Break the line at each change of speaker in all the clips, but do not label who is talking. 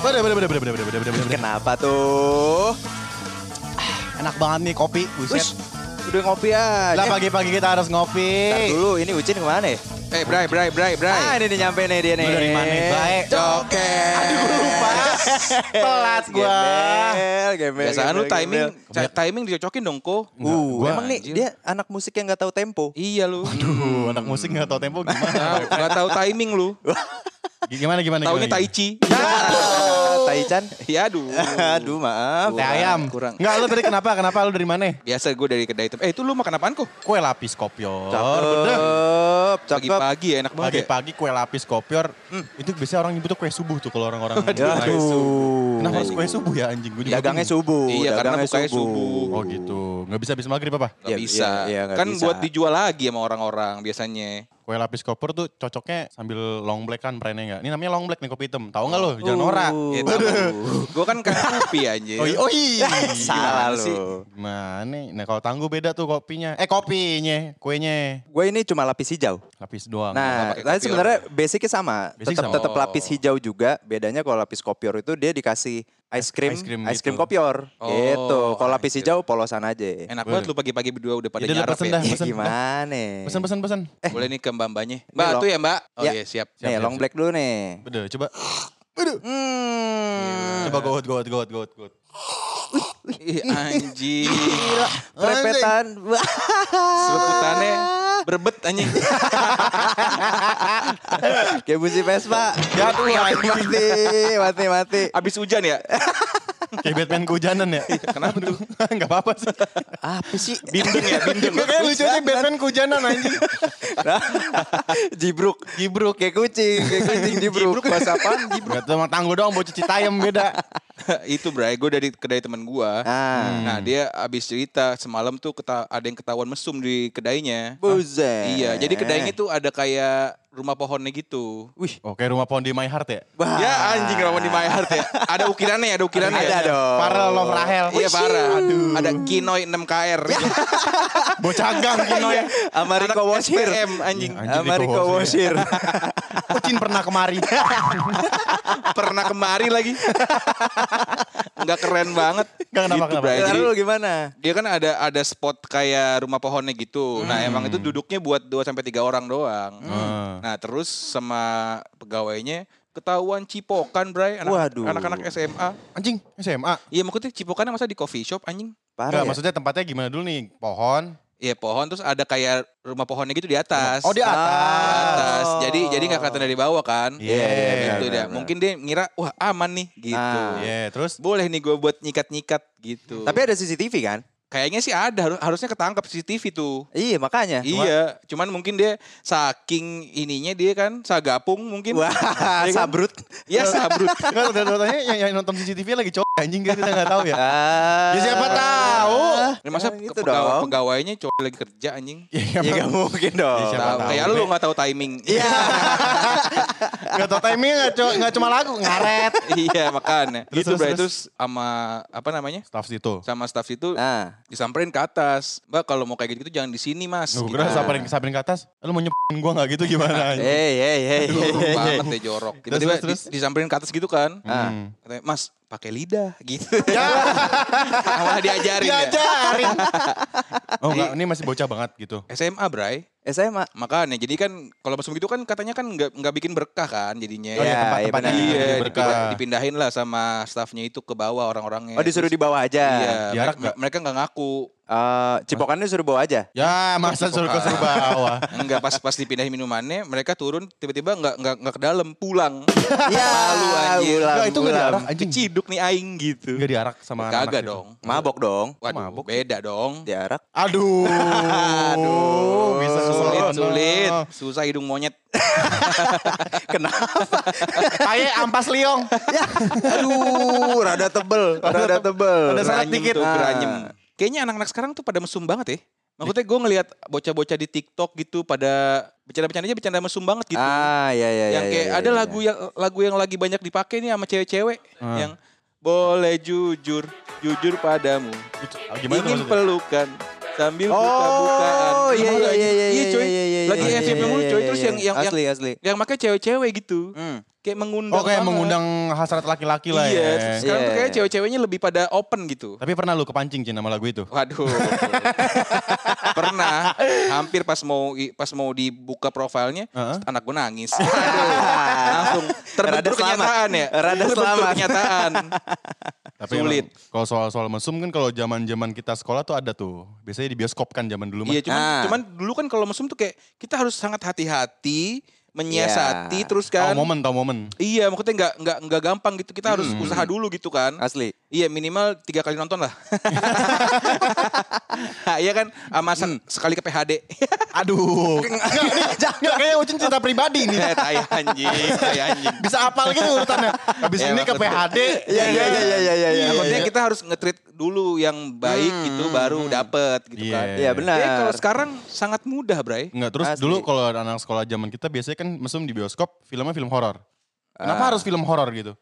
Bener, bener, bener, bener, bener, bener, bener, bener, bener.
Kenapa tuh?
Enak banget nih kopi, buset.
Ush, udah ngopi aja.
Lah pagi-pagi kita harus
Ntar
ngopi.
dulu, ini Ucin kemana ya?
Eh, Bray, Bray, Bray,
Ah,
Bray.
ini nih nyampe nih dia nih.
Lu dari mana, Bray?
Joker.
Aduh, lupa. Telat gua.
Gembel, gembel.
Biasaan kan lu
gembel,
timing,
gembel.
ca- timing dicocokin dong, Ko.
Uh,
gua-
emang nih
Anjir.
dia anak musik yang gak tahu tempo.
Iya lu.
Aduh, anak musik nggak tahu tempo gimana?
Tahu, Nggak tahu timing lu.
Gimana gimana?
Taunya
gimana?
tai chi.
Ah, Taichan.
Ya aduh.
Aduh, maaf.
Tai ayam.
Kurang.
Enggak, lu tadi kenapa? Kenapa lu dari mana?
Biasa gue dari kedai tem. Eh, itu lu makan apaan, Ko?
Kue lapis kopior. Bener.
Cakep, cakep.
Pagi-pagi ya, enak banget ya.
Pagi-pagi kue lapis kopior. Hmm, Itu biasanya orang nyebutnya kue subuh tuh kalau orang-orang.
Aduh.
Kenapa harus kue subuh ya anjing? Gua juga
Dagangnya
bingung.
subuh.
Iya, karena
dagangnya
bukanya subuh.
Oh gitu. Nggak bisa habis maghrib apa?
Gak
Iya,
bisa.
iya, iya, nggak
kan
bisa.
buat dijual lagi sama orang-orang biasanya.
Kue lapis kopior tuh cocoknya sambil long black kan brandnya nggak? Ini namanya long black nih kopi hitam. Tahu nggak lu? Jangan norak.
Ya, gue kan kan kopi anjir.
Oi, oi.
Salah
Gimana sih?
lu.
Mana? Nah kalau tangguh beda tuh kopinya. Eh kopinya, kuenya
Gue ini cuma lapis hijau.
lapis doang.
Nah,
pakai
tapi
kopior.
sebenarnya basicnya sama.
Basic
tetap
sama.
tetap lapis hijau juga. Bedanya kalau lapis kopior itu dia dikasih ice cream,
ice
ice
cream
cream,
gitu.
kopior.
Oh,
gitu. Kalau lapis
anjir.
hijau polosan aja.
Enak banget lu pagi-pagi berdua udah pada
Yaudah, lu
nyarap
pesen
ya. Eh,
dah.
Ya
pesan,
gimana?
Pesan pesan pesan.
Boleh nih ke mbak-mbaknya. Mbak,
lo-
tuh ya mbak? Oh
Ya.
iya, siap.
Nih,
siap,
long
siap. Iya.
black dulu nih.
Udah coba. Aduh.
Hmm.
Coba goat goat goat goat goat.
Ih, anjing.
Trepetan.
Sebutannya berbet anjing.
Kayak bunyi Vespa. Jatuh mati, mati, mati.
Abis hujan ya?
Kayak Batman kehujanan ya? Kenapa tuh? Enggak apa-apa sih.
Apa sih?
Bindeng ya, bindeng.
Enggak kayak lucu aja Batman kehujanan anjing.
Jibruk. Jibruk. Kayak kucing, kayak kucing jibruk. Bahasa Nah, apaan jibruk?
Enggak tuh emang tangguh doang bocah Citayam beda.
itu bray, gue dari kedai teman gue.
Ah.
Nah dia abis cerita semalam tuh keta- ada yang ketahuan mesum di kedainya.
Buset.
Iya, jadi kedainya tuh ada kayak rumah pohonnya gitu.
Wih.
Oke Oh, rumah pohon di My Heart ya?
Wah.
Ya anjing Ramon di my heart ya. Ada ukirannya, ada ukirannya. ya.
Ada dong.
Parah lo Rahel.
Iya parah. Aduh. Ada Kinoi 6KR.
Bocah gang Kino ya.
Sama
Anak
Rico Washir.
SPM anjing.
Iya, anjing
Sama
Rico
Rico
Washir.
Washir.
Kucing pernah kemari.
Pernah kemari lagi. Enggak keren banget.
Nggak, kenapa,
Gitu,
kenapa?
Bray. Jadi,
Lalu lu gimana?
dia kan ada ada spot kayak rumah pohonnya gitu. Nah, emang itu duduknya buat 2 sampai 3 orang doang.
Hmm.
Nah, terus sama pegawainya ketahuan cipokan, Bray. Anak-
Waduh.
Anak-anak SMA.
Anjing SMA.
Iya, maksudnya cipokan masa di coffee shop anjing?
Parah
Enggak
ya?
maksudnya tempatnya gimana dulu nih? Pohon.
Iya pohon terus ada kayak rumah pohonnya gitu di atas.
Oh di
Di
atas.
atas. Jadi jadi nggak kelihatan dari bawah kan?
Iya, iya, iya,
gitu
benar,
dia.
benar.
Mungkin dia ngira wah aman nih gitu.
Iya
Ah.
terus.
Boleh nih gue buat nyikat-nyikat gitu.
Tapi ada CCTV kan?
kayaknya sih ada harus- harusnya ketangkap CCTV tuh.
Iya makanya.
iya, cuman mungkin dia saking ininya dia kan sagapung mungkin.
Wah,
Iya kan?
sabrut.
Ya sabrut.
Enggak tanya yang, yang nonton CCTV lagi cowok anjing kan kita enggak tahu ya.
Ah.
Ya, siapa tahu?
Nah, masa
Ya,
pe-
gitu
pegawai-
dong.
pegawainya cowok lagi kerja anjing.
Iya,
Ya
Bang.
gak mungkin dong.
Ya, siapa
Tahu,
tahu,
kayak
Be.
lu nggak tahu timing.
Iya.
Gak tau timing gak, cu- gak cuma lagu, ngaret.
iya, makanya.
Terus,
gitu
terus,
Bray.
terus.
terus sama apa namanya?
Staff situ.
Sama staff itu
Nah,
disamperin ke atas. Mbak kalau mau kayak gitu jangan di sini mas.
Gue
Gitu.
kira Oh, samperin, samperin ke atas, "Eh, lu mau nyepin gue gak gitu gimana?
hey, hey, hey, hey, hey,
Jorok
hey.
iya, banget deh jorok. Tiba-tiba
Iya. Terus, terus,
di- disamperin ke atas gitu kan.
Ah.
Hmm. Ya.
Katanya, mas pakai lidah gitu. Malah diajarin ya.
Diajarin. oh enggak, ini masih bocah banget gitu.
SMA Bray.
SMA.
Makanya jadi kan kalau masuk gitu kan katanya kan nggak nggak bikin berkah kan jadinya.
Oh iya,
Iya,
tempat-tempat
iya,
ini
Iya,
jadi berkah.
dipind- dipindahin lah sama staffnya itu ke bawah orang-orangnya.
Oh disuruh
Terus-
dibawa
Iya,
aja.
Jarak
mereka-
nggak?
mereka nggak ngaku.
Eh, cipokannya disuruh bawa aja.
Ya masa suruh ke suruh bawah.
Enggak pas pas dipindahin minumannya, mereka turun tiba-tiba nggak nggak nggak ke dalam, pulang.
Iya,
Malu anjir.
ulang,
Enggak, itu nggak
ulang.
diarak anjing.
Keciduk nih aing gitu.
Enggak diarak sama anak-anak
Kagak
gitu.
dong.
Mabok dong.
Waduh,
Mabuk.
beda dong.
Diarak. Oh.
Aduh.
Aduh.
Bisa
Sulit,
kesono.
sulit. Susah hidung monyet.
Kenapa?
Aye ampas liong.
ya. Aduh, rada tebel, rada tebel.
Ada syarat
Geranyem
dikit.
Tuh,
Ah.
geranyem. Kayaknya anak-anak sekarang tuh pada mesum banget ya. Maksudnya gue ngelihat bocah-bocah di TikTok gitu pada bercanda-bercandanya bercanda mesum banget gitu.
Ah, ya ya
yang
ya,
kayak
ya,
ada
ya,
lagu
ya.
yang lagu yang lagi banyak dipakai nih sama cewek-cewek
Ah.
yang boleh jujur, jujur padamu.
Gimana tuh
Ingin
maksudnya?
pelukan sambil
Oh,
buka-bukaan.
iya, iya, iya, iya,
iya, cuy.
iya, iya, iya,
Lagi
iya,
FYP
iya,
mulu,
iya,
coy.
iya,
Terus
iya.
yang yang yang,
asli asli.
yang pakai cewek-cewek gitu.
Hmm.
Kayak mengundang.
Oh kayak
banget.
mengundang hasrat laki-laki lah
Iya,
ya.
sekarang tuh
Iya.
kayak cewek-ceweknya lebih pada open gitu.
Tapi pernah lu kepancing Cin sama lagu itu?
Waduh. Pernah hampir pas mau pas mau dibuka profilnya
Heeh.
anak gue nangis. Aduh, langsung terbentur
Rada selamat.
kenyataan ya.
Rada
Terbentur
selamat.
kenyataan.
Tapi
Sulit.
emang Kalau soal-soal mesum kan kalau zaman-zaman kita sekolah tuh ada tuh. Biasanya di bioskop kan zaman dulu mah.
Iya, cuman
Ah.
cuman dulu kan kalau mesum tuh kayak kita harus sangat hati-hati menyiasati terus kan.
Tahu momen, tahu momen.
Iya, maksudnya nggak nggak nggak gampang gitu. Kita harus usaha dulu gitu kan.
Asli.
Iya minimal tiga kali nonton lah. Iya kan, sama se- sekali ke PHD.
Aduh. Enggak kayak Ucin cerita pribadi nih.
Eh, tai anjing, tai anjing.
Bisa apal gitu urutannya. Habis
Iya,
ini ke
maksudnya.
PHD.
Iya iya iya iya iya iya. Hmm,
Nah,
Iya,
maksudnya
iya.
kita harus nge-treat dulu yang baik gitu baru dapet gitu
Iya.
kan. Hmm.
Iya
Tapi
benar.
kalau sekarang sangat mudah, Bray.
Enggak, terus
Asli.
dulu kalau anak sekolah zaman kita biasanya kan mesum di bioskop, filmnya film horor.
Ah.
Kenapa harus film horor gitu?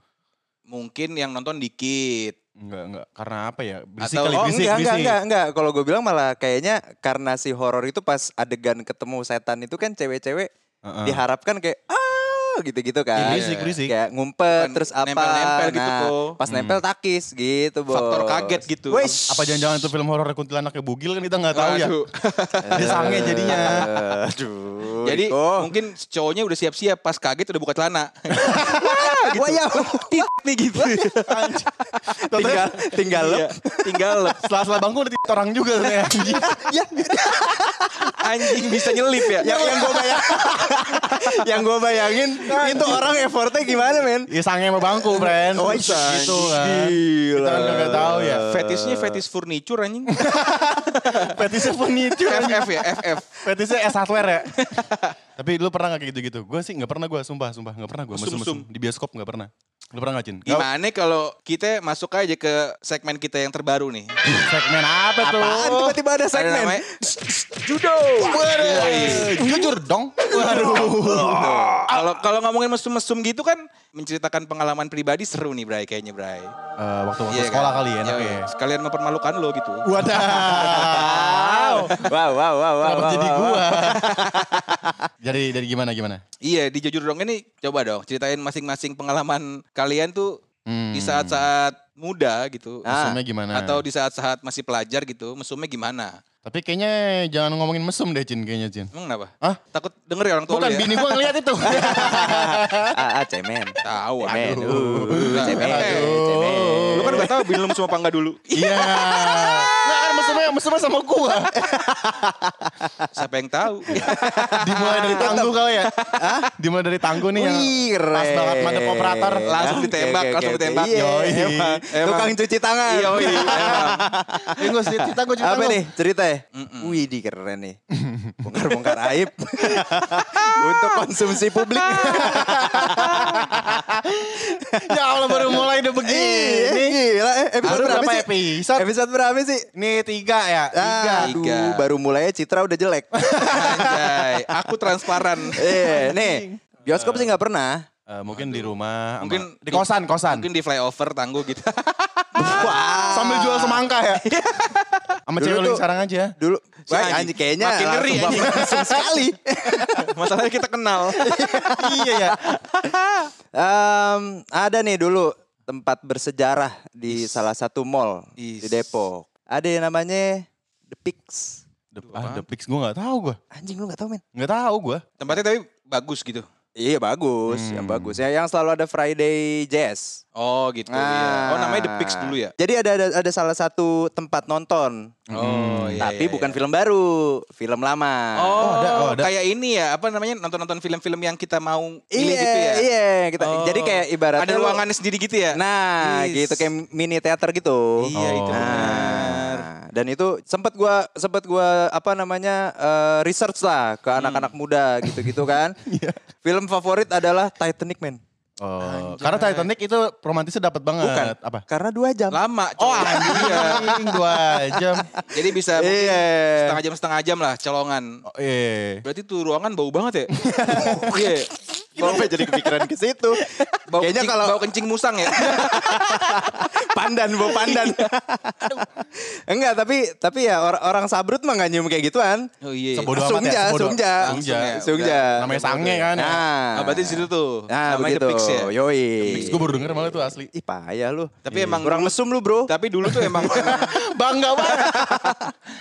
Mungkin yang nonton dikit.
Enggak, enggak. Karena apa ya? Berisik
Atau-
kali,
oh,
Oh
berisik,
enggak, enggak,
berisik.
enggak, enggak. Kalau gue bilang malah kayaknya karena si horor itu pas adegan ketemu setan itu kan cewek-cewek
Heeh.
diharapkan kayak ah gitu-gitu
Iya,
kan.
Berisik, berisik.
Kayak ngumpet
Bukan
terus apa.
nempel-nempel gitu,
nah,
Bo.
Pas nempel takis gitu, Bo.
Faktor kaget gitu.
Wish.
Apa jangan-jangan itu film horor kuntilanaknya bugil kan kita nggak tahu ya.
Iya.
Waduh.
Jadi sange jadinya.
Aduh.
Jadi
Iko.
mungkin cowoknya udah siap-siap pas kaget udah buka celana. gitu.
Wah, iya. ya.
Nih gitu.
tinggal tinggal
Iya,
lep.
tinggal lep.
Setelah-setelah bangku udah titik orang juga ternyata, anjing.
Ya,
Anjing bisa nyelip ya.
yang yang gue bayangin, yang gue bayangin itu orang effortnya gimana men?
Iya sange sama bangku, Bren.
Oh,
gitu
sange.
kan. Kita kan nggak tahu ya.
Fetisnya fetis furniture anjing.
Fetisnya furniture.
FF ya, FF.
Fetisnya es hardware ya. Tapi lu pernah gak kayak gitu-gitu? Gue sih gak pernah gue, sumpah, sumpah. Gak pernah gue
Mesum,
mesum-mesum. Di bioskop gak pernah. Lu pernah gak, Cin? Nggak-
Gimana kalau kita masuk aja ke segmen kita yang terbaru nih.
Segmen apa tuh?
Apaan tiba-tiba ada
Ada
segmen?
namanya
Judo.
Waduh. Eh, Jujur dong. Waduh.
Kalau kalau ngomongin mesum-mesum gitu kan menceritakan pengalaman pribadi seru nih Bray kayaknya Bray.
Eh, Waktu-waktu
Iya kan?
sekolah kali ya, enak
Iya,
ya.
Sekalian mempermalukan lo gitu.
Waduh.
Wow, wow, wow, wow,
Kenapa
wow,
jadi
wow.
gua? Jadi dari gimana gimana?
Iya, di jujur dong ini coba dong ceritain masing-masing pengalaman kalian tuh
Hmm.
di saat-saat muda gitu.
Ah.
Mesumnya gimana?
Atau di saat-saat masih pelajar gitu, mesumnya gimana?
Tapi kayaknya jangan ngomongin mesum deh Cin kayaknya Cin.
Emang kenapa?
Hah?
Takut denger ya orang tua
Bukan
lu ya?
bini gua ngeliat itu.
Ah, ah, cemen.
Tahu.
Cemen.
aduh.
Uh, cemen.
Aduh.
Cemen.
Lu kan gak tahu bini lu mesum apa enggak dulu.
Iya. Nggak kan mesumnya mesumnya sama gua.
Siapa yang tahu?
Dimulai dari tangguh kali ya. Dimulai dari tangguh nih yang
Wih,
pas banget
keren.
madep operator.
Langsung
Oke,
ditembak,
oke,
langsung
oke,
ditembak.
Iya,
Yoi.
emang.
Emang.
Tukang cuci tangan.
Iya, iya, emang.
Eh gua cerita gua cerita.
Apa
lu.
nih cerita ya? Wih, di keren nih. Bongkar-bongkar aib. Untuk konsumsi publik.
Ya Allah baru mulai udah
Iya,
begini.
gila. Eh, Episode
Baru
berapa
berapa
sih?
episode?
Episode berapa sih?
Nih tiga ya. Tiga.
Ah, Aduh,
Tiga.
baru mulainya Citra udah jelek.
Anjay, aku transparan.
Eh, nih. Bioskop sih nggak pernah.
Eh, mungkin di rumah, sama-
Mungkin
di kosan, kosan.
Mungkin di flyover tangguh gitu.
Wah.
Sambil jual semangka ya. Sama
Ah. Dulu
cewek lu yang
tuh-
sekarang aja.
Dulu,
Si
wah,
anjing.
anjing kayaknya
Makin ngeri,
langsung
anjing.
langsung sekali.
Masalahnya kita kenal.
iya ya.
Em, ada nih dulu tempat bersejarah di salah satu mall
Is.
di Depok. Ada yang namanya The Pix.
The, ah, the Pix gue gak tahu gue.
Anjing lu gak tau men?
Gak tahu gue.
Tempatnya tapi bagus gitu.
Iya bagus, yang bagus. Ya, yang selalu ada Friday Jazz.
Oh gitu. iya.
Nah.
Oh namanya The Pix dulu ya.
Jadi ada, ada ada salah satu tempat nonton.
Oh iya.
Ah. Hmm. Tapi
iya,
bukan
iya.
film baru, film lama.
Oh,
Oh, ada, oh, ada.
kayak ini ya, apa namanya nonton-nonton film-film yang kita mau
Iya,
pilih gitu ya.
iya. Kita,
Oh.
Jadi kayak ibaratnya
ada
lu-
ruangannya sendiri gitu ya.
Nah,
Is.
gitu kayak mini teater gitu.
Iya itu
Oh.
benar.
Nah, dan itu sempat gua sempat gua apa namanya eh, research lah ke anak-anak muda gitu-gitu kan. Film favorit adalah Titanic man.
Oh, karena Titanic itu romantisnya dapat banget.
Bukan.
Apa?
Karena dua jam.
Lama. Oh iya.
Anjing dua jam.
Jadi bisa mungkin
Iya.
setengah jam setengah jam lah colongan.
Oh, iya.
Berarti tuh ruangan bau banget ya? Iya.
Kenapa jadi kepikiran ke situ?
Bau
Kayaknya
kencing,
kalau
bau kencing musang ya.
pandan, bau pandan. Enggak, tapi tapi ya or- orang sabrut mah nggak nyium kayak gituan. Ah,
oh iya.
Sebodoh amat
Sungja,
ya, sebodoh.
sungja,
Sungja.
sungja.
Namanya sange kan. ya.
Nah,
Nah, berarti di situ tuh.
Nah,
namanya The
begitu.
Pix ya.
Yoi.
Mix gue baru denger malah tuh asli.
Ih, payah lu. Iya.
Tapi emang
kurang
dulu-
mesum lu, Bro.
Tapi dulu tuh emang, emang-
Bangga banget.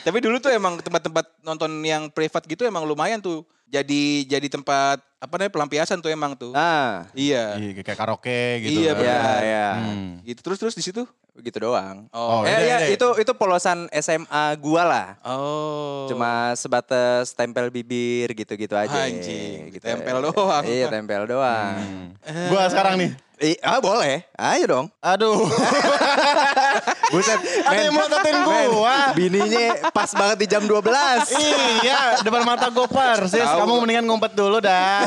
tapi dulu tuh emang tempat-tempat nonton yang privat gitu emang lumayan tuh. Jadi jadi tempat apa namanya pelampiasan tuh emang tuh.
Nah,
Iya.
Iya kayak karaoke gitu.
Iya,
kan.
ya,
benar.
ya.
Hmm.
Gitu terus terus di situ.
Gitu doang.
Oh,
Eh,
iya,
ini,
ya,
ini.
itu itu polosan SMA gua lah.
Oh.
Cuma sebatas tempel bibir gitu-gitu aja.
Anjing,
gitu.
tempel doang. Hmm.
Iya, tempel doang.
Eh. Gua sekarang nih.
I- ah boleh, ayo dong.
Aduh.
Buset,
Ada yang mau ngatain gua.
bininya pas banget di jam 12.
iya, depan mata gue persis. Kamu mendingan ngumpet dulu dah.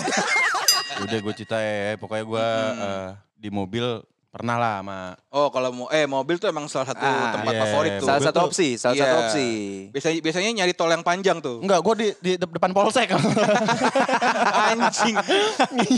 Udah gue cita ya, pokoknya gue eh, di mobil pernah lah sama
Oh, kalau mau eh mobil tuh emang salah satu
Ah,
tempat
iya.
favorit tuh.
salah
Mobil
satu
tuh-
opsi, salah
Iya.
satu opsi.
Biasanya biasanya nyari tol yang panjang tuh.
Enggak, gue di, di de- depan polsek.
Anjing.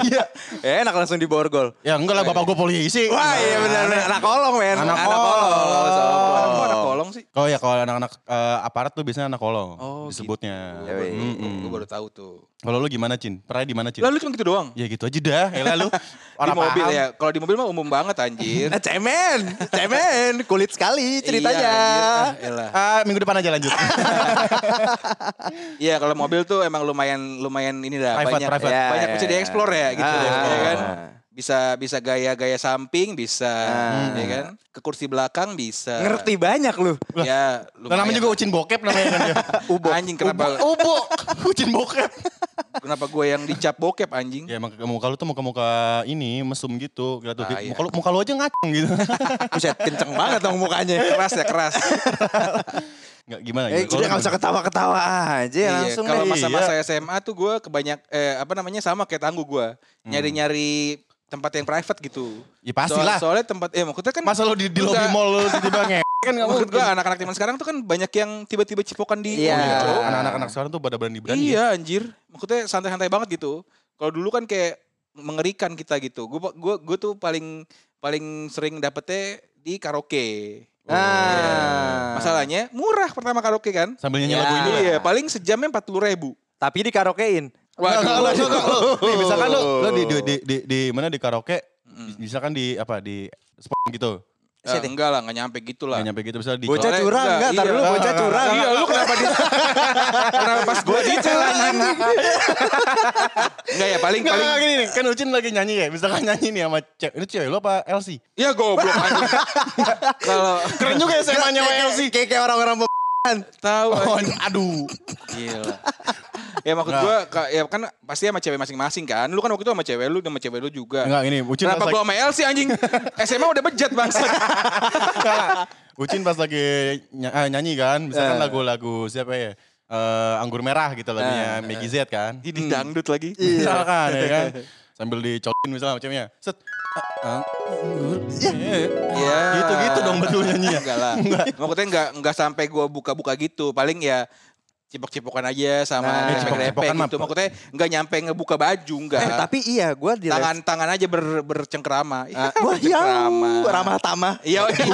Iya.
Eh, enak langsung di borgol.
ya enggak lah, bapak gue polisi.
Wah, iya benar benar
Gitu.
anak kolong, men.
Anak
kolong.
Kenapa
sombong.
kok anak kolong sih?
Oh ya kalau anak-anak eh, aparat tuh biasanya anak kolong
Oh,
disebutnya.
gitu. Yoi.
Mm-mm.
Gue baru tahu tuh.
Kalau lu gimana Cin? Pernah di mana Cin?
iya. Lalu cuma gitu doang.
Ya gitu aja dah, elah lu.
di mobil
paham.
ya. Kalau di mobil mah umum banget anjir.
Eh, cemen, cemen, kulit sekali ceritanya.
Iya, anjir. Ah, elah.
Ah, minggu depan aja lanjut.
Iya, kalau mobil tuh emang lumayan lumayan ini dah
Private,
banyak
private.
Ya,
Ah, banyak
ya,
bisa
ya.
dieksplor ya gitu
Ah.
ya kan. Bisa bisa gaya-gaya samping bisa ya kan. Ke kursi belakang bisa.
Ngerti banyak lu.
Ya,
Lah namanya juga Oh. Ucin Bokep namanya kan dia.
Anjing kenapa
Ubo, Ucin Bokep.
kenapa gue yang dicap bokep anjing?
Ya emang muka lu tuh muka-muka ini mesum gitu. Gila tuh.
Ah, iya.
muka, lu, muka lu aja ngaceng gitu.
Buset, kenceng banget dong mukanya.
Keras ya, keras.
Enggak gimana
Eh,
Kalau lu
udah gak usah
gimana?
ketawa-ketawa aja
Iya,
langsung
kalau
deh.
masa-masa SMA tuh gue kebanyak eh, apa namanya sama kayak tangguh gue nyari-nyari tempat yang private gitu.
Ya pastilah.
Soal- soalnya tempat eh maksudnya kan
Masa lu di, di lobby
Enggak.
mall lu tiba-tiba nge kan enggak
maksud
mungkin.
gue anak-anak zaman sekarang tuh kan banyak yang tiba-tiba cipokan
Oh,
Iya.
di
iya,
mobil,
bro.
bro.
Anak-anak anak sekarang tuh pada berani-berani. ya.
Iya anjir. Maksudnya santai-santai banget gitu. Kalau dulu kan kayak mengerikan kita gitu. Gue gua gua tuh paling paling sering dapetnya di karaoke.
Ah.
Masalahnya murah pertama karaoke kan.
Sambil nyanyi
Ya.
lagu ini.
Iya, paling sejamnya 40 ribu.
Tapi di karaokein.
Enggak, enggak, enggak,
Waduh.
enggak, enggak. Nih, misalkan lu lu di di di, di, di mana di karaoke di- misalkan di apa di spot gitu.
Eh, enggak lah, enggak nyampe gitu lah.
Nggak nyampe gitu misalnya di
Bocah
Soalnya
curang,
enggak,
enggak. Ntar
iya.
dulu bocah
Enggak,
curang.
Iya, lu kenapa di Kenapa pas gue dicela anjing? Enggak ya, paling
Enggak,
paling
enggak, gini nih. Kan Ucin lagi nyanyi ya. Misalkan nyanyi nih sama cewek. Ini cewek lu apa LC?
ya goblok anjing. Kalau
Keren juga ya SMA-nya sama LC.
Kayak- Kayak kayak orang-orang be-
tahu
Oh,
anjing.
aduh.
Gila. ya maksud
Nggak.
gue, ya kan pasti sama cewek masing-masing kan. Lu kan waktu itu sama cewek lu, sama cewek lu juga.
Enggak, ini, Ucin
Kenapa
pas
gue sama LC anjing? SMA udah bejat bangsa.
Enggak lah. Ucin pas lagi ny- ah, nyanyi kan. Misalkan lagu-lagu siapa ya. Eh, anggur merah gitu lagunya Maggie Z kan.
Ini dangdut lagi.
Misalkan ya kan. Sambil dicokin misalnya sama ceweknya. Set. Ah, Anggur. merah.
Iya.
Gitu-gitu dong betul nyanyinya.
Enggak lah. Maksudnya enggak enggak sampai gua buka-buka gitu. Paling ya cipok-cipokan aja
Nah,
sama lepek-lepek
cipok-cipokan mah-
gitu. Maksudnya enggak nyampe ngebuka baju enggak.
Eh, tapi iya gue di
tangan-tangan aja ber, bercengkrama.
Ah, Wah, ya. Ramah tamah.
Iya,
Ya,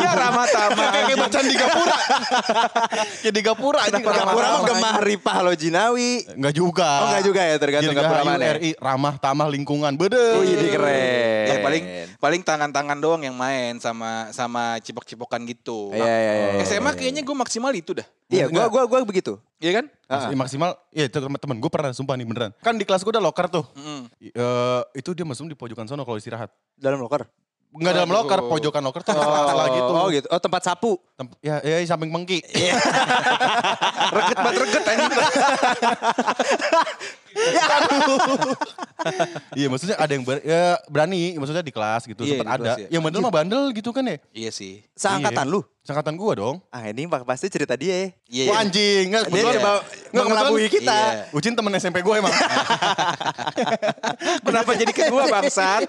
iya ramah tamah.
Kayak bacaan di Gapura. Kayak Ya, di Gapura. anjing,
Gapura mah
ramah-ramah.
gemah ripah lo Jinawi.
Enggak juga. Iya,
Oh, enggak juga ya, tergantung Gapura
Dirgahayu
mana ya? Oh, iya,
RI ramah tamah lingkungan. Bede.
Wih, di keren.
Ya, paling paling tangan-tangan doang yang main sama sama cipok-cipokan gitu.
Iya, iya, iya, iya, iya.
SMA kayaknya gue maksimal itu dah.
Iya, gue gua gua begitu.
Iya kan?
Mas-
Ah.
maksimal ya itu teman-teman gue pernah sumpah nih beneran kan di kelas gue ada locker tuh I- eh, itu dia mesum di pojokan sono kalau istirahat
Dalam loker.
Enggak dalam
Aduh.
locker pojokan locker tuh salah gitu
Oh gitu. Iya, Oh tempat sapu.
Tem- ya ya di samping mengki
Reget banget reget anjing.
iya maksudnya ada yang ber- ya, berani maksudnya di kelas gitu
Iya,
sempat
di
ada
kelas, ya.
yang bandel mah bandel gitu kan ya
Iya sih.
Seangkatan
Iya.
lu.
Sangkatan gue dong
Ah ini pak- pasti cerita dia ya.
Iya.
Wah anjing nggak
Dia
kebetulan-
coba
nggak, kebetulan-
mengelabui kita.
Iya.
Ucin temen SMP gue emang
Kenapa jadi kedua bangsat?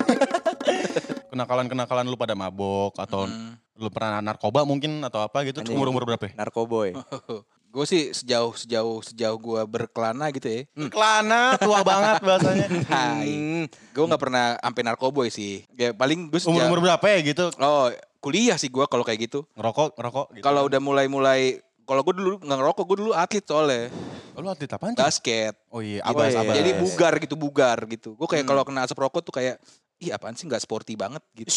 kenakalan-kenakalan lu pada
Hmm.
mabok atau lu pernah narkoba mungkin atau apa gitu
Anjing.
umur umur berapa ya?
Narkoboy.
Gue sih sejauh sejauh sejauh gue berkelana gitu ya.
Kelana tua banget bahasanya.
Hai. Gue nggak pernah ampe narkoboy sih. Ya paling gue
Umur
sejauh.
umur berapa ya gitu?
Oh kuliah sih gue kalau kayak gitu.
Ngerokok, ngerokok gitu.
Kalau udah mulai-mulai, kalau gue dulu nggak ngerokok, gue dulu atlet soalnya
Oh, lu atlet apaan? Cik?
basket.
Oh iya,
Gitu.
abas, abas.
Jadi bugar gitu, bugar gitu. Gue
Hmm.
kayak kalau kena asap rokok tuh kayak, ih apaan sih nggak sporty banget gitu.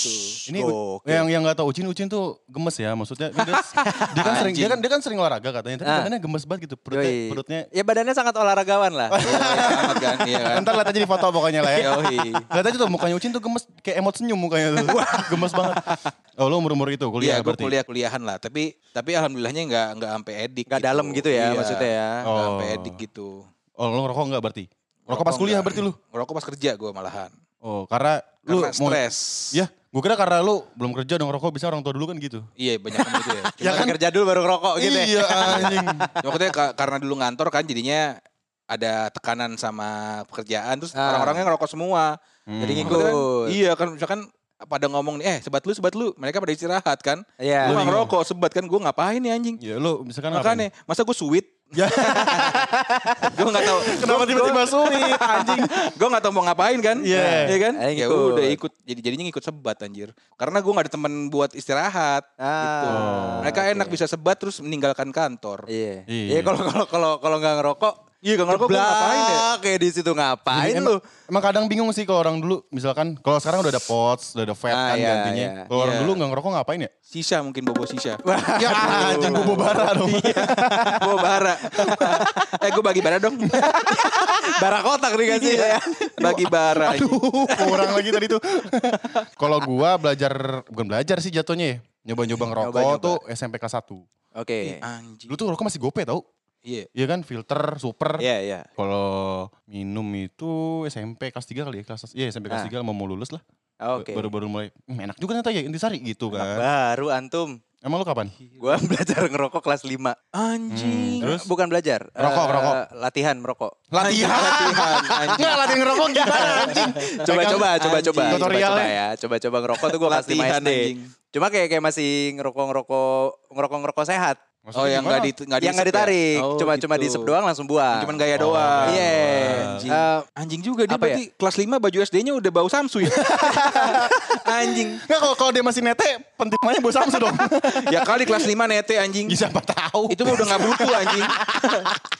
Ini
Oke.
yang yang nggak tahu Ucin Ucin tuh gemes ya maksudnya dia, dia kan sering dia kan dia kan sering olahraga katanya tapi
Ah.
katanya gemes banget gitu perutnya
Yoi.
perutnya
Ya badannya sangat olahragawan lah.
Amat kan, iya kan.
Ntar lihat aja di foto pokoknya lah ya.
Yoi.
Lihat aja tuh mukanya Ucin tuh gemes kayak emot senyum mukanya tuh. gemes banget. Oh lu umur-umur itu kuliah
Iya, gue
berarti.
kuliah-kuliahan lah. Tapi tapi alhamdulillahnya nggak nggak sampai edik. Iya,
Nggak dalam gitu ya maksudnya ya.
Oh.
Nggak sampai edik gitu.
Oh lu ngerokok enggak berarti? Rokok pas
Ngerokok
kuliah
nggak.
berarti lu.
Ngerokok pas kerja gue malahan.
Oh, karena, lu
Karena
mau
stres.
Ya, gue kira karena lu belum kerja dong rokok bisa orang tua dulu kan gitu.
Iya banyak yang gitu ya.
Ya kan kerja dulu baru ngerokok gitu ya.
Iya anjing.
Cuma Maksudnya ka- karena dulu ngantor kan jadinya ada tekanan sama pekerjaan terus
Ah.
orang-orangnya ngerokok semua.
Jadi
Hmm.
ngikut.
Maksudnya kan, iya kan misalkan pada ngomong nih, eh sebat lu sebat lu, mereka pada istirahat kan.
Iya.
Gue
Lu-
ngerokok sebat kan gue ngapain nih anjing.
Ya lu misalkan ngapain?
Makanya masa gue suit
Ya.
gue nggak tahu
Kenapa tiba-tiba sulit anjing?
gue nggak tahu mau ngapain kan
Iya.
Iya kan
Ayo
ya
ngikut.
udah ikut jadi jadinya ngikut sebat anjir karena gue nggak ada teman buat istirahat gitu
Oh,
Ah,
mereka
oke.
enak bisa sebat terus meninggalkan kantor
Iya.
Iya.
Iya kalau kalau kalau kalau nggak ngerokok
iya gak ngerokok gue ngapain ya
Kayak di situ ngapain
Em-
lu?
Emang kadang bingung sih kalau orang dulu misalkan kalau sekarang udah ada pots, udah ada vape
Ah,
kan
iya,
gantinya.
iya.
Kalau orang
Iya.
dulu nggak ngerokok ngapain ya?
sisa mungkin bobo sisa
ya anjing bobo bara dong.
bobo bara eh gue bagi bara dong
Bara kotak nih kasih
Iya.
ya.
bagi bara anjing.
Aduh, kurang lagi tadi tuh. kalau gua belajar bukan belajar sih jatuhnya ya. Nyoba-nyoba ngerokok
Nyoba-nyoba.
tuh SMP kelas 1.
Oke.
anjing
Dulu tuh rokok masih gope tau.
iya
Iya kan filter, super.
Iya, iya.
Kalau minum itu SMP kelas 3 kali ya kelas iya SMP kelas
Ah.
3 mau mau lulus lah.
Oke.
Baru-baru mulai "Hmm, enak juga ternyata ya intisari gitu kan.
Baru antum.
Emang lu kapan?
Gua
Iya.
belajar ngerokok kelas 5.
anjing
Terus?
Bukan belajar.
Ngerokok,
eh,
ngerokok.
Latihan merokok.
Latihan. Enggak latihan ngerokok gimana anjing?
Coba
Pegang-
coba coba coba
Anjing.
coba
Tutorialnya.
coba ya. Coba-coba ngerokok tuh gua kelas 5
Latihan,
SD.
anjing. Oh,
Cuma kayak kayak masih ngerokok-ngerokok ngerokok-ngerokok sehat.
Maksudnya
oh yang
gimana?
nggak di nggak
yang nggak
diisep ya?
ditarik,
Oh,
cuma cuma
gitu.
diisep doang langsung buang.
cuman gaya
Oh,
doang
gaya
Iya.
anjing
Eh,
anjing juga
apa
dia
ya?
berarti kelas 5 baju SD-nya udah bau samsu ya anjing
Nggak, kalau kalau dia masih nete, pentingannya bos Samsu dong.
Ya kali kelas 5 nete anjing.
Ya, siapa tahu.
Itu mah udah nggak butuh anjing.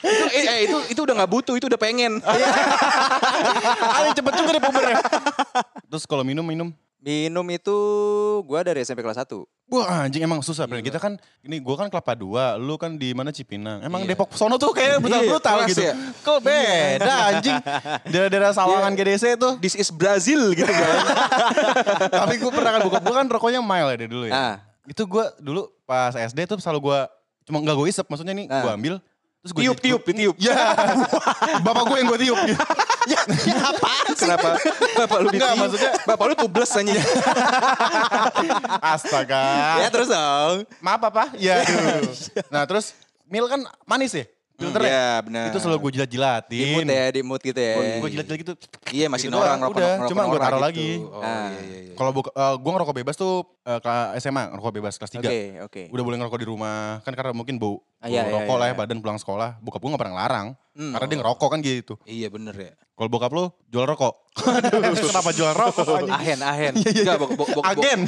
itu, eh, eh, itu itu udah nggak butuh, itu udah pengen.
Ali ah, cepet juga deh pubernya. Terus kalau minum minum.
minum itu gua dari SMP kelas 1.
Wah anjing emang susah Bren. Kita kan ini gua kan Kelapa Dua, lu kan di mana Cipinang. Emang
Iya.
Depok sono tuh kayak brutal-brutal
keras
gitu.
ya.
Kok beda anjing. Daerah-daerah Sawangan GDC tuh.
This is Brazil gitu kan.
Tapi gue pernah kan bokap gue kan rokoknya mile ya dari dulu ya.
Ah.
Itu gue dulu pas SD tuh selalu gue cuma nggak gue isep maksudnya nih
Ah.
gue ambil terus gue
Tiup tiup tiup.
Ya, bapak gue yang gue tiup. gitu.
ya, ya apaan sih?
Kenapa? Bapak lu
Nggak,
ditiup.
maksudnya-
Bapak lu tubles anjing.
Astaga.
Ya terus dong.
Maaf apa? Ya. aduh. nah terus mil kan manis ya filternya.
Iya, benar.
Itu selalu gue jilat-jilatin.
Dimut ya, dimut gitu ya.
Gue jilat-jilat gitu.
Iya masih
Gitu
orang
doang,
rokok
udah.
rokok-
Cuma gua
orang
taruh
gitu.
lagi.
Oh,
Ah.
iya, iya, iya.
Kalau buka, eh, gue ngerokok bebas tuh eh, ke SMA ngerokok bebas kelas 3.
Oke, oke.
Udah boleh ngerokok di rumah kan karena mungkin bau, bau
Ah, iya, iya,
rokok
iya,
lah ya
iya.
badan pulang sekolah. Bokap gue gak pernah larang
Hmm.
karena dia ngerokok kan gitu.
Iya bener ya.
Kalau bokap lo jual rokok. Eh, Kenapa jual rokok? anjing?
Ahen, ahen.
Enggak, bok, bok, bok, bok.
Agen.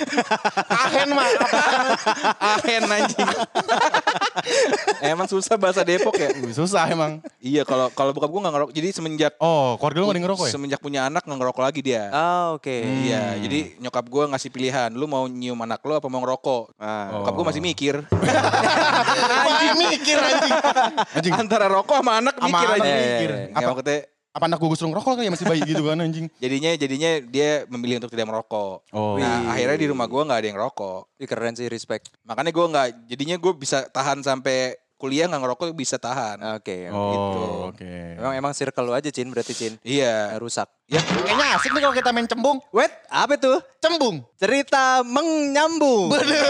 Agen mah.
Ahen anjing. Emang susah bahasa Depok ya?
Susah emang.
Iya, kalau kalau bokap gue nggak ngerokok. Jadi semenjak
Oh, keluarga lu gak ada yang ngerokok ya? Hmm.
semenjak punya anak nggak ngerokok lagi dia.
Ah, oke.
Iya, jadi nyokap gue ngasih pilihan, lu mau nyium anak lu apa mau ngerokok?
Ah.
Nyokap gue
Oh.
masih mikir.
Anjing mikir anjing. Anjing.
Antara rokok sama anak
Sama
mikir
anak
aja.
mikir.
Apa?
Apa-
maksudnya,
Apa anak gue gue suruh ngerokok kali ya masih bayi gitu kan anjing.
jadinya jadinya dia memilih untuk tidak merokok.
Oh.
Nah, akhirnya di rumah gue nggak ada yang rokok.
Ih, keren sih, respect.
Makanya gue nggak, jadinya gue bisa tahan sampai kuliah nggak ngerokok bisa tahan.
Oke. oke.
Oh, oke.
Emang emang circle lu aja, Cin, berarti Cin. Eh,
Iya.
Rusak.
Ya, kayaknya asik nih kalau kita main cembung.
Wait, apa itu?
Cembung.
Cerita menyambung.
Bener.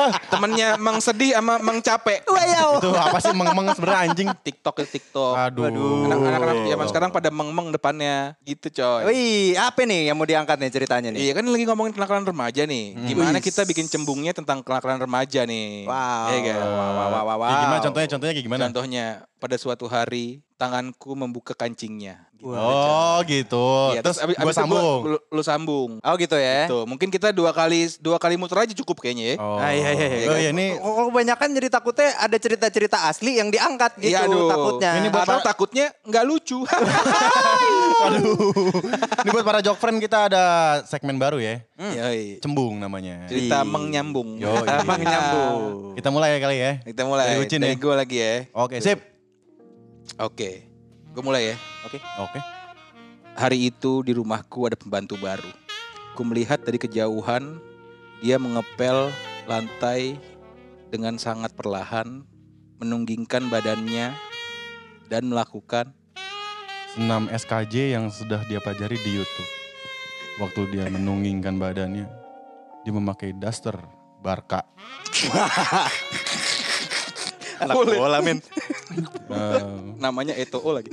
Ah, Temennya Mang Sedih sama Mang Capek.
iya.
Itu apa sih meng-meng sebenernya anjing.
TikTok itu TikTok.
Aduh.
Aduh.
Anak-anak zaman sekarang pada meng-meng depannya gitu coy.
Wih, apa nih yang mau diangkat nih ceritanya nih?
Iya kan lagi ngomongin kenakalan remaja nih.
Hmm.
Gimana kita bikin cembungnya tentang kenakalan remaja nih.
Wow.
Iya kan?
Wow, wow, wow, wow,
Kayak
wow.
gimana contohnya? Contohnya kayak gimana?
Contohnya pada suatu hari tanganku membuka kancingnya. Gitu.
Oh gitu.
Iya,
Terus
abis-
gue
abis itu gua-
sambung. Eh?
lu, lu sambung.
Oh gitu ya.
Tuh, mungkin kita dua kali dua kali muter aja cukup kayaknya ya.
Oh.
Ah, iya, iya, iya.
Oh iya ini
Kok kok kebanyakan jadi takutnya ada cerita-cerita asli yang diangkat gitu
Iya, aduh.
takutnya.
Ini buat-
Atau takutnya nggak lucu.
aduh. ini buat para jok friend kita ada segmen baru ya.
Yoi.
Cembung namanya.
Cerita menyambung.
Yo, iya.
menyambung.
Kita mulai Oh. kali ya.
Kita mulai.
Dari Ucin ya?
gue lagi ya.
Oke, sip.
Oke. Gue mulai ya.
Oke.
Hari itu di rumahku ada pembantu baru. Ku melihat dari kejauhan dia mengepel lantai dengan sangat perlahan, menunggingkan badannya dan melakukan
6 SKJ yang sudah dia pelajari di YouTube. Waktu dia menunggingkan badannya, dia memakai daster Barca.
Anak bola min.
Eh,
namanya Eto'o lagi.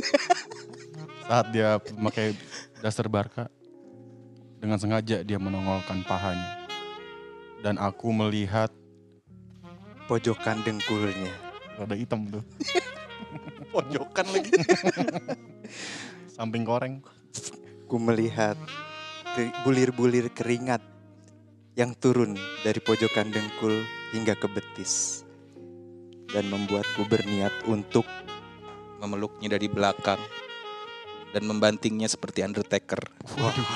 saat dia memakai daster Barca, dengan sengaja dia menongolkan pahanya. Dan aku melihat
Pojokan dengkulnya.
rada hitam tuh,
Pojokan lagi.
samping koreng.
Ku melihat ke- bulir-bulir keringat yang turun dari pojokan dengkul hingga ke betis dan membuatku berniat untuk
memeluknya dari belakang dan membantingnya seperti Undertaker.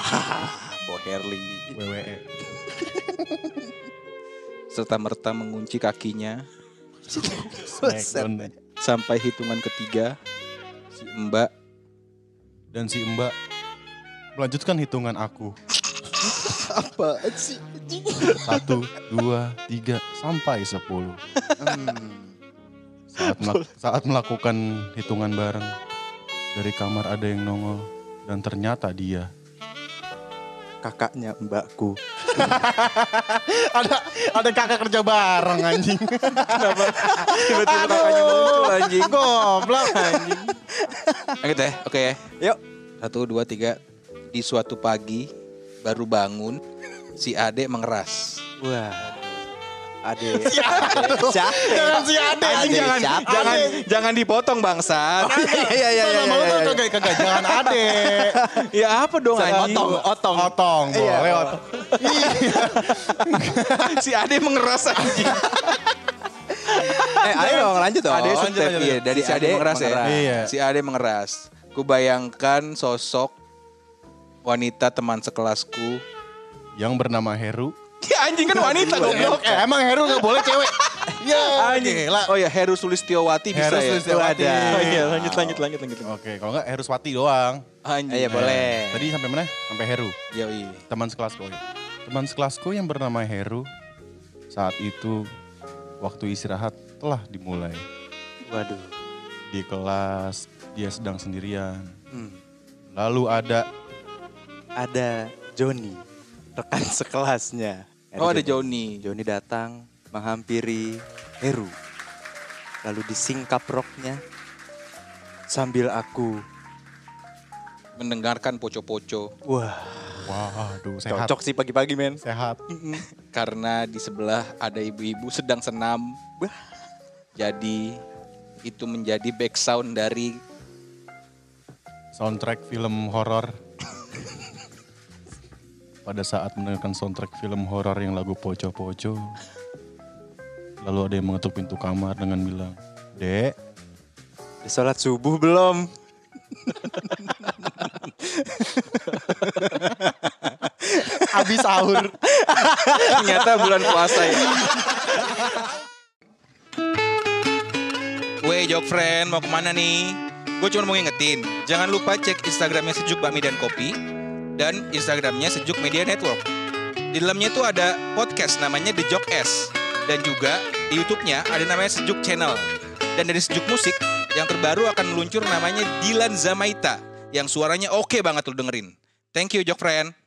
Ah, Bo Herli
WWE.
serta merta mengunci kakinya
Smackdown.
sampai hitungan ketiga si Mbak
Dan si Mbak melanjutkan hitungan aku.
apa sih?
Satu, dua, tiga, sampai sepuluh.
Hmm,
Saat, melak- saat melakukan hitungan bareng, dari kamar ada yang nongol dan ternyata dia.
kakaknya mbakku.
ada ada kakak kerja bareng anjing.
Tiba-tiba kakaknya muncul anjing.
Goblok anjing.
Nah, gitu ya, oke ya.
Yuk.
Satu, dua, tiga. Di suatu pagi baru bangun, si Ade mengeras.
Wah. Ade. Jahe.
Jangan si Ade anjing
Ade,
jangan.
siapa?
Jangan.
jangan dipotong bangsa.
Iya iya iya
Nama lu
iya.
tuh kagak kagak jangan Ade.
ya apa dong anjing?
Otong, otong.
Otong,
Iya.
boleh otong.
si Ade mengeras anjing.
Eh, ayo dong lanjut dong.
Ade
lanjut,
sukses
lanjut.
iya, dari
Si
si Ade
Ade
mengeras,
mengeras.
ya.
Iya.
Si Ade mengeras. Kubayangkan sosok wanita teman sekelasku.
Yang bernama Heru.
Ya anjing kan wanita goblok.
Eh, emang Heru gak boleh cewek. Ya,
Anjing. Oh ya Heru Sulistyowati bisa
Heru
ya.
Sulistyowati.
Wadah. Oh, iya, lanjut lanjut lanjut lanjut.
Oke, kalau enggak Heruswati doang.
Anjing.
Iya, boleh.
Tadi sampai mana? Sampai Heru.
Yoi.
Teman sekelasku. oh iya. Teman sekelasku yang bernama Heru saat itu waktu istirahat telah dimulai.
Waduh.
Di kelas dia sedang sendirian.
Hmm.
Lalu ada
Ada Joni, rekan sekelasnya.
Oh ada Joni.
Joni datang menghampiri Heru. Lalu disingkap roknya sambil aku
Mendengarkan poco-poco
wah
waduh sehat.
cocok sih pagi-pagi men.
Sehat.
karena di sebelah ada ibu-ibu sedang senam.
Wah.
Jadi itu menjadi background dari
Soundtrack film horor. Pada saat mendengarkan soundtrack film horor yang lagu poco-poco. Lalu ada yang mengetuk pintu kamar dengan bilang, "Dek,
Udah Sholat subuh belum?
habis sahur."
Ternyata bulan puasa ya. Weh Jok Friend, mau kemana nih? Gue cuma mau ngingetin, jangan lupa cek Instagramnya Sejuk Bakmi dan Kopi dan Instagramnya Sejuk Media Network. Di dalamnya tuh ada podcast namanya The Jok S dan juga di YouTube-nya ada namanya Sejuk Channel. Dan dari Sejuk Musik yang terbaru akan meluncur namanya Dilan Zamaita yang suaranya oke banget lu dengerin. Thank you Jok Friend.